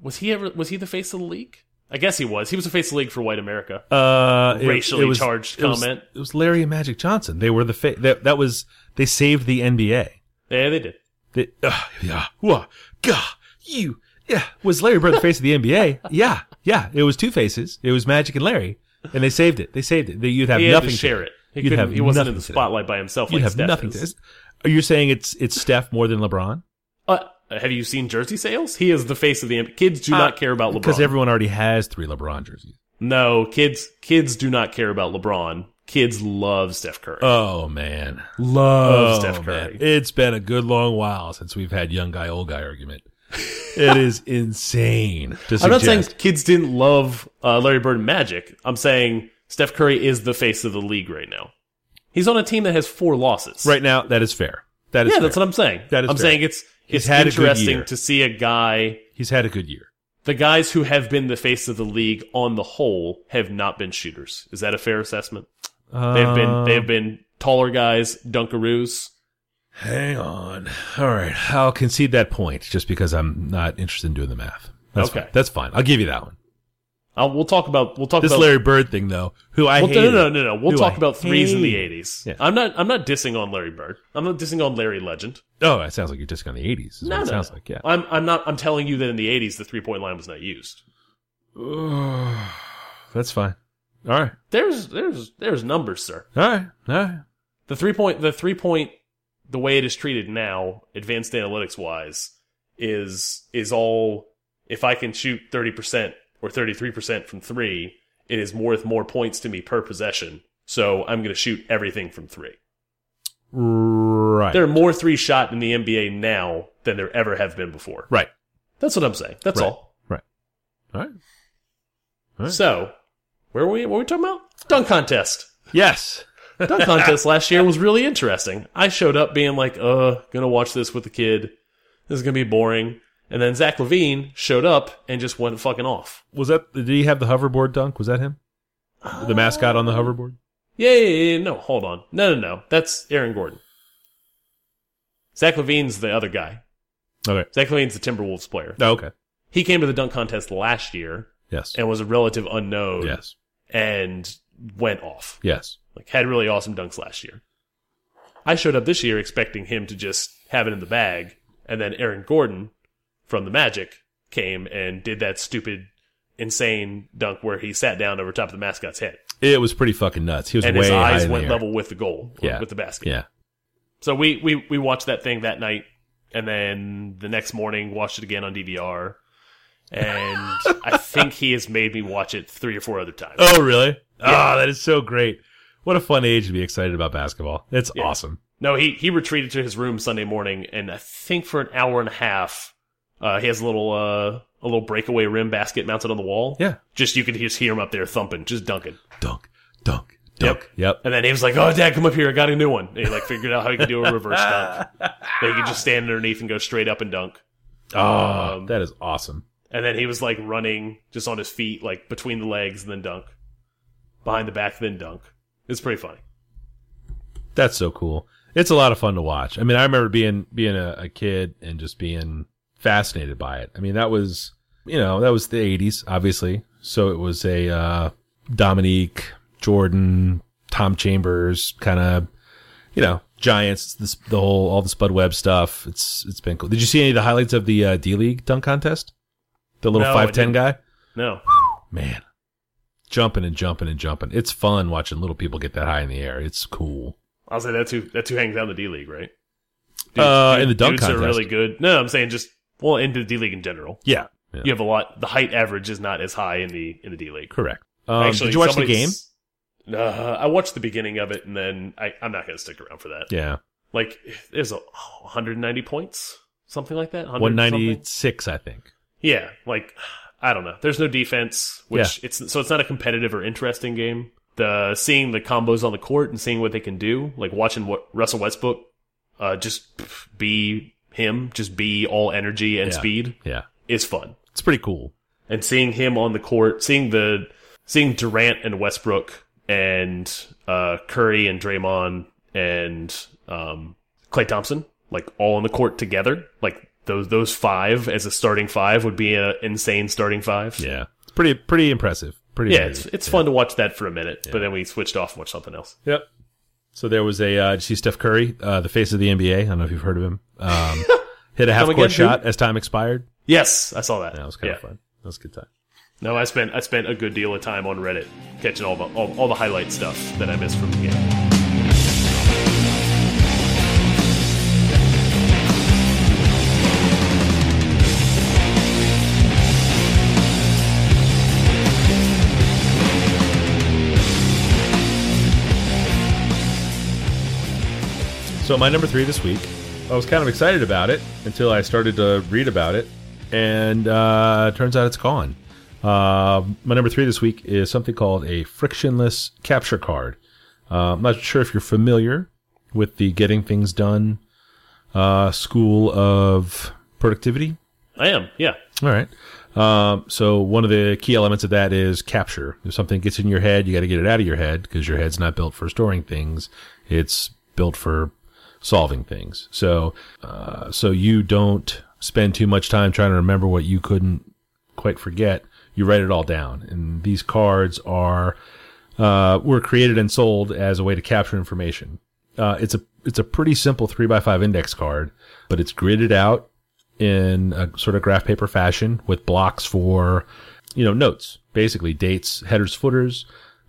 Was he ever, was he the face of the league? I guess he was. He was the face of the league for white America.
Uh,
Racially charged
it was-
comment.
It was Larry and Magic Johnson. They were the fa- that that was they saved the NBA.
Yeah, they did.
They, uh, yeah, whoa, gah, you, yeah. Was Larry Bird the face of the NBA? Yeah, yeah. It was two faces. It was Magic and Larry, and they saved it. They saved it. They, you'd have
he
nothing
had to share it. He,
You'd
couldn't,
have
he wasn't
nothing
in the
to do.
spotlight by himself.
You'd
like
have
Steph
nothing
is.
to. Are you saying it's it's Steph more than LeBron?
Uh, have you seen jersey sales? He is the face of the NBA. Kids
Uh,
do not care about
Because
LeBron.
everyone already has three LeBron jerseys.
no, kids kids do not care about LeBron. Kids love Steph Curry.
Oh man,
love
Oh,
Steph Curry.
man. It's been a good long while since we've had young guy old guy argument. it is insane. To
I'm not saying
suggest-
kids didn't love uh, Larry Bird and Magic. I'm saying Steph Curry is the face of the league right now. He's on a team that has four losses.
right now that is fair. That is
Yeah,
fair.
that's what I'm saying.
That is
I'm
fair.
saying it's it's
had a good
interesting
year.
to see a guy
he's had a good year.
the guys who have been the face of the league on the whole have not been shooters. Is that a fair assessment? They've
Uh,
been they've been taller guys, dunkaroos.
Hang on. All right, I'll concede that point just because I'm not interested in doing the math. That's
Okay.
fine. that's fine. I'll give you that one.
I'll, we'll talk about we'll talk
This
about
Larry Bird thing, though, who I
well,
hated.
no, no, no, no. We'll
Who
talk
I
about threes in the
hated.
eighties.
Yeah.
I'm not I'm not dissing on Larry Bird. I'm not dissing on Larry Legend.
Oh, it sounds like you're just on the '80s. Is what
No,
it
no,
sounds
no.
like yeah.
I'm I'm not I'm telling you that in the eighties the three point line was not used.
that's fine. All right,
There's there's there's numbers, sir.
all right, all right.
The three point the three point the way it is treated now, advanced analytics wise, is is all if I can shoot thirty percent or thirty three percent from three, it is worth more points to me per possession. So I'm gonna shoot everything from three.
Right,
There are more three shot in the NBA now than there ever have been before.
right,
That's what I'm saying. That's
Right.
all.
right. All right. Right.
So where were we what were we talking about? Dunk contest.
Yes.
Dunk contest last year was really interesting. I showed up being like, uh, gonna watch this with the kid. This is gonna be boring. And then Zach Levine showed up and just went fucking off.
Was that? Did he have the hoverboard dunk? Was that him? The mascot on the hoverboard.
Yeah, yeah, yeah, yeah, no, hold on. No, no, no. That's Aaron Gordon. Zach Levine's the other guy.
Okay.
Zach Levine's the Timberwolves player.
Oh, okay.
He came to the dunk contest last year
Yes.
and was a relative unknown
Yes.
and went off.
Yes.
Like had really awesome dunks last year. I showed up this year expecting him to just have it in the bag, and then Aaron Gordon from the Magic came and did that stupid, insane dunk where he sat down over top of the mascot's head,
It was pretty fucking nuts. He was
and
way
his
high
eyes
in the
went
air.
level with the goal,
Yeah.
with the basket.
Yeah.
So we, we we watched that thing that night, and then the next morning watched it again on DVR, and I think he has made me watch it three or four other times.
Oh, really? Ah, that is so great. What a fun age to be excited about basketball. It's
Yeah.
awesome.
No, he he retreated to his room Sunday morning, and I think for an hour and a half, uh, he has a little uh, a little breakaway rim basket mounted on the wall.
Yeah.
just you could just hear him up there thumping, just dunking.
Dunk, dunk, dunk. Yep.
And then he was like, "Oh, Dad, come up here! I got a new one." And he like figured out how he could do a reverse dunk. That he could just stand underneath and go straight up and dunk.
Ah, that is awesome.
And then he was like running just on his feet, like between the legs, and then dunk, behind the back, then dunk. It's pretty funny.
That's so cool. It's a lot of fun to watch. I mean, I remember being being a, a kid and just being fascinated by it. I mean, that was you know that was the '80s, obviously. So it was a uh, Dominique Jordan, Tom Chambers kind of you know Giants. This, the whole all the Spud Webb stuff. It's it's been cool. Did you see any of the highlights of the uh, D League dunk contest? The little
No, I
five ten
didn't.
guy,
No,
man, jumping and jumping and jumping. It's fun watching little people get that high in the air. It's cool.
I'll say that's who that's who hangs out in the D League, right?
Uh,
dude-
in the dunk
dudes are
contest.
really good. No, I'm saying just well into the D League in general.
Yeah.
You have a lot. The height average is not as high in the in the D League.
Correct. Um, did you watch the game?
game? Uh, I watched the beginning of it, and then I, I'm not going to stick around for that.
Yeah,
Like, there's a, oh, 190 points, something like that. 100
one ninety
something?
six, I think.
Yeah, like I don't know. There's no defense, which it's so it's not a competitive or interesting game. The seeing the combos on the court and seeing what they can do, like watching what Russell Westbrook uh, just pff, be him, just be all energy and
Yeah.
speed
Yeah,
is fun.
it's pretty cool.
And seeing him on the court, seeing the seeing Durant and Westbrook and uh, Curry and Draymond and um, Clay Thompson, like all on the court together, like those those five as a starting five would be an insane starting five.
Yeah, it's pretty pretty impressive. Pretty
Yeah, it's
amazing.
it's fun to watch that for a minute, but then we switched off and watched something else.
Yep. So there was a uh, did you see Steph Curry, uh, the face of the NBA. I don't know if you've heard of him. Um, hit a half
again,
court shot as time expired.
Yes, I saw that.
That was kind
Yeah.
of fun. That was a good time.
No, I spent I spent a good deal of time on Reddit catching all the all, all the highlight stuff that I missed from the game.
So my number three this week, I was kind of excited about it until I started to read about it, and uh, turns out it's gone. Uh, my number three this week is something called a frictionless capture card. Uh, I'm not sure if you're familiar with the Getting Things Done uh, School of Productivity.
I am, yeah.
All right. Um, so one of the key elements of that is capture. If something gets in your head, you got to get it out of your head because your head's not built for storing things. It's built for solving things. So, uh, so you don't spend too much time trying to remember what you couldn't quite forget. You write it all down. And these cards are, uh, were created and sold as a way to capture information. Uh, it's a, it's a pretty simple three by five index card, but it's gridded out in a sort of graph paper fashion with blocks for, you know, notes, basically dates, headers, footers,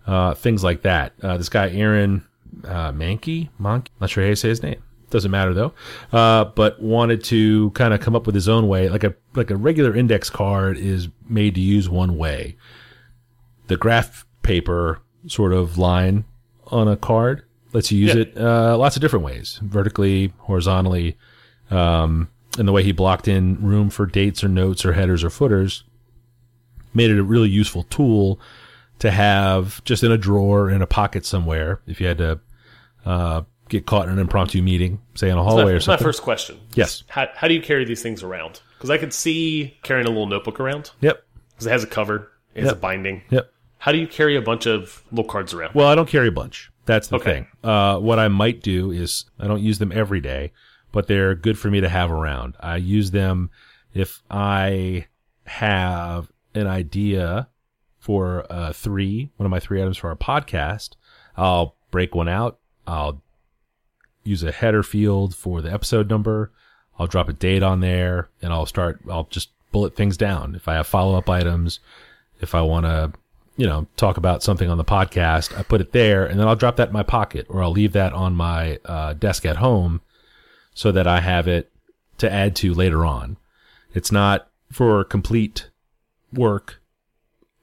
uh, things like that. Uh, this guy, Aaron uh, Mankey, Monkey, not sure how you say his name. Doesn't matter though. Uh, but wanted to kind of come up with his own way. Like a, like a regular index card is made to use one way. The graph paper sort of line on a card lets you use
Yeah.
it, uh, lots of different ways, vertically, horizontally, um, and the way he blocked in room for dates or notes or headers or footers made it a really useful tool to have just in a drawer in a pocket somewhere if you had to uh, get caught in an impromptu meeting, say in a hallway
my,
or
my
something.
first question.
Yes.
How, how do you carry these things around? Because I could see carrying a little notebook around
Yep.
because it has a cover, it has a binding.
Yep.
How do you carry a bunch of little cards around?
Well, I don't carry a bunch. That's the
Okay.
thing. Uh, what I might do is I don't use them every day, but they're good for me to have around. I use them if I have an idea for uh, three, one of my three items for our podcast. I'll break one out. I'll use a header field for the episode number. I'll drop a date on there and I'll start, I'll just bullet things down. If I have follow up items, if I want to, you know, talk about something on the podcast, I put it there and then I'll drop that in my pocket or I'll leave that on my uh, desk at home so that I have it to add to later on. It's not for complete work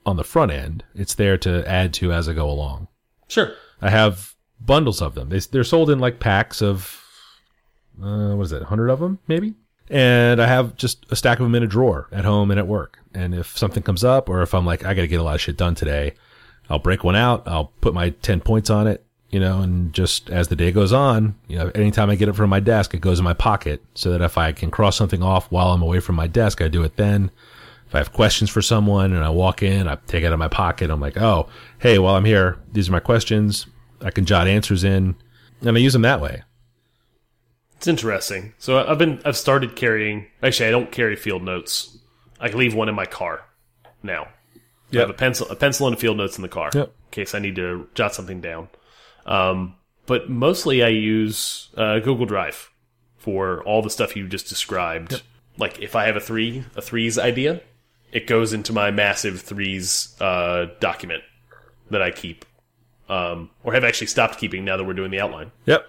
on the front end. It's there to add to as I go along.
Sure.
I have bundles of them. They, they're sold in like packs of, uh, what is it, 100 of them, maybe? And I have just a stack of them in a drawer at home and at work. And if something comes up, or if I'm like, I got to get a lot of shit done today, I'll break one out. I'll put my 10 points on it, you know, and just as the day goes on, you know, anytime I get it from my desk, it goes in my pocket so that if I can cross something off while I'm away from my desk, I do it then. If I have questions for someone and I walk in, I take it out of my pocket. I'm like, oh, hey, while I'm here, these are my questions. I can jot answers in, and I use them that way.
It's interesting. So I've been I've started carrying. Actually, I don't carry field notes. I leave one in my car now. I have a pencil, a pencil, and a field notes in the car
Yep.
in case I need to jot something down. Um, but mostly, I use uh, Google Drive for all the stuff you just described. Like if I have a three, a threes idea, it goes into my massive threes uh, document that I keep, um, or have actually stopped keeping now that we're doing the outline.
Yep.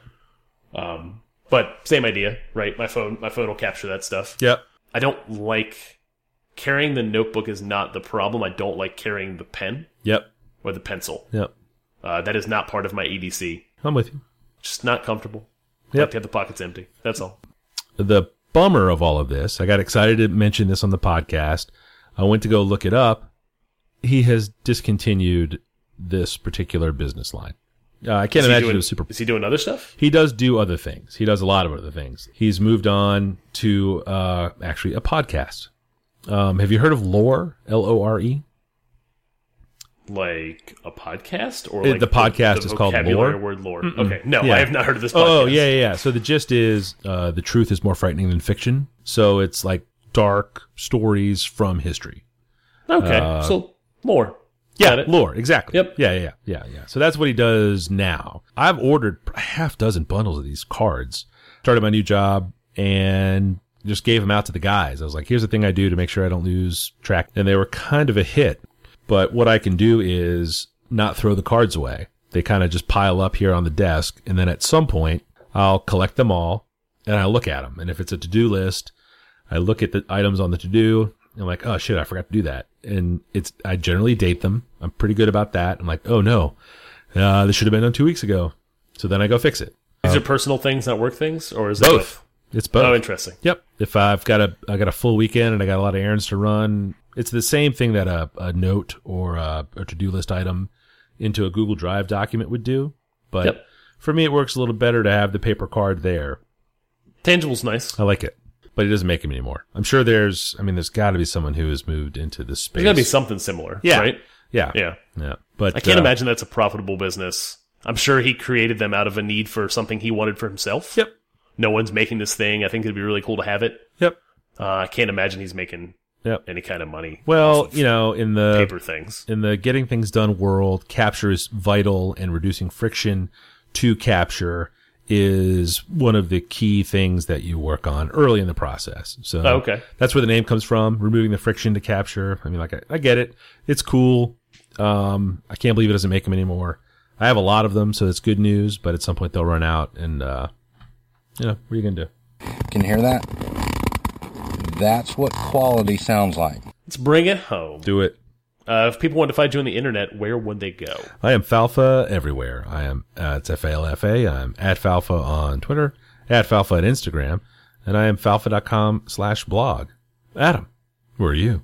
But same idea, right? My phone, my phone will capture that stuff.
Yep.
I don't like carrying the notebook is not the problem. I don't like carrying the pen
Yep.
or the pencil.
Yep.
Uh, that is not part of my EDC.
I'm with you.
Just not comfortable.
Yep.
Like to have the pockets empty. That's all.
the bummer of all of this, I got excited to mention this on the podcast. I went to go look it up. He has discontinued this particular business line. Uh, I can't
Is he
imagine
doing-
it was super.
Is he doing other stuff?
He does do other things. He does a lot of other things. He's moved on to uh, actually a podcast. Um, have you heard of Lore? L O R E.
Like a podcast or
Uh,
like
the podcast is called
vocabulary
Lore?
Word lore. Okay. No,
Yeah.
I have not heard of this podcast.
Oh yeah, yeah, yeah. So the gist is uh, the truth is more frightening than fiction. So it's like dark stories from history.
Okay. so lore. Got it.
Uh, lore. Exactly.
Yep.
Yeah, yeah, yeah, yeah, yeah. So that's what he does now. I've ordered a half dozen bundles of these cards. Started my new job and just gave them out to the guys. I was like, here's the thing I do to make sure I don't lose track. And they were kind of a hit. But what I can do is not throw the cards away. They kind of just pile up here on the desk. And then at some point, I'll collect them all and I look at them. And if it's a to do list, I look at the items on the to do. I'm like, oh shit, I forgot to do that. And it's, I generally date them. I'm pretty good about that. I'm like, oh no, uh, this should have been done two weeks ago. So then I go fix it.
These are personal things, not work things, or is it
Both. It's both.
Oh, interesting.
Yep. If I've got a I got a full weekend and I got a lot of errands to run, it's the same thing that a, a note or a, a to do list item into a Google Drive document would do. But
Yep.
for me, it works a little better to have the paper card there.
Tangible's nice.
I like it, but it doesn't make them anymore. I'm sure there's. I mean, there's got to be someone who has moved into this space.
There's got to be something similar.
Yeah.
Right.
Yeah.
Yeah.
Yeah. But
I can't
uh,
imagine that's a profitable business. I'm sure he created them out of a need for something he wanted for himself.
Yep.
No one's making this thing. I think it'd be really cool to have it.
Yep.
Uh, I can't imagine he's making
Yep.
any kind of money.
Well, you know, in the
paper things.
in the getting things done world, capture is vital and reducing friction to capture is one of the key things that you work on early in the process. So
Oh, okay.
that's where the name comes from, removing the friction to capture. I mean, like I, I get it. It's cool. Um, I can't believe it doesn't make them anymore. I have a lot of them, so it's good news, but at some point they'll run out and, uh, you know, what are you going to do?
Can you hear that? That's what quality sounds like.
Let's bring it home.
Do it.
Uh, if people wanted to find you on the internet, where would they go?
I am Falfa everywhere. I am uh, it's F A L F A. I'm at Falfa on Twitter, at Falfa on Instagram, and I am falfa.com slash blog. Adam, where are you?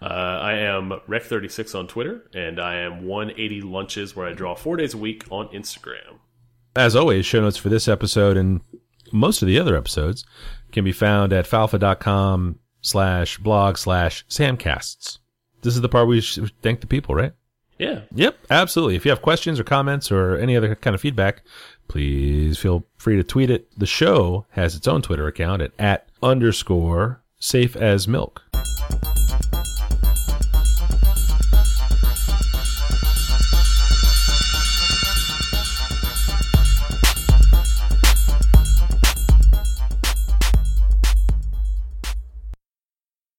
Uh, I am Rec36 on Twitter, and I am 180 Lunches, where I draw four days a week on Instagram.
As always, show notes for this episode and most of the other episodes can be found at falfa.com slash blog slash samcasts. This is the part we should thank the people, right?
Yeah.
Yep, absolutely. If you have questions or comments or any other kind of feedback, please feel free to tweet it. The show has its own Twitter account at, at underscore safe as milk.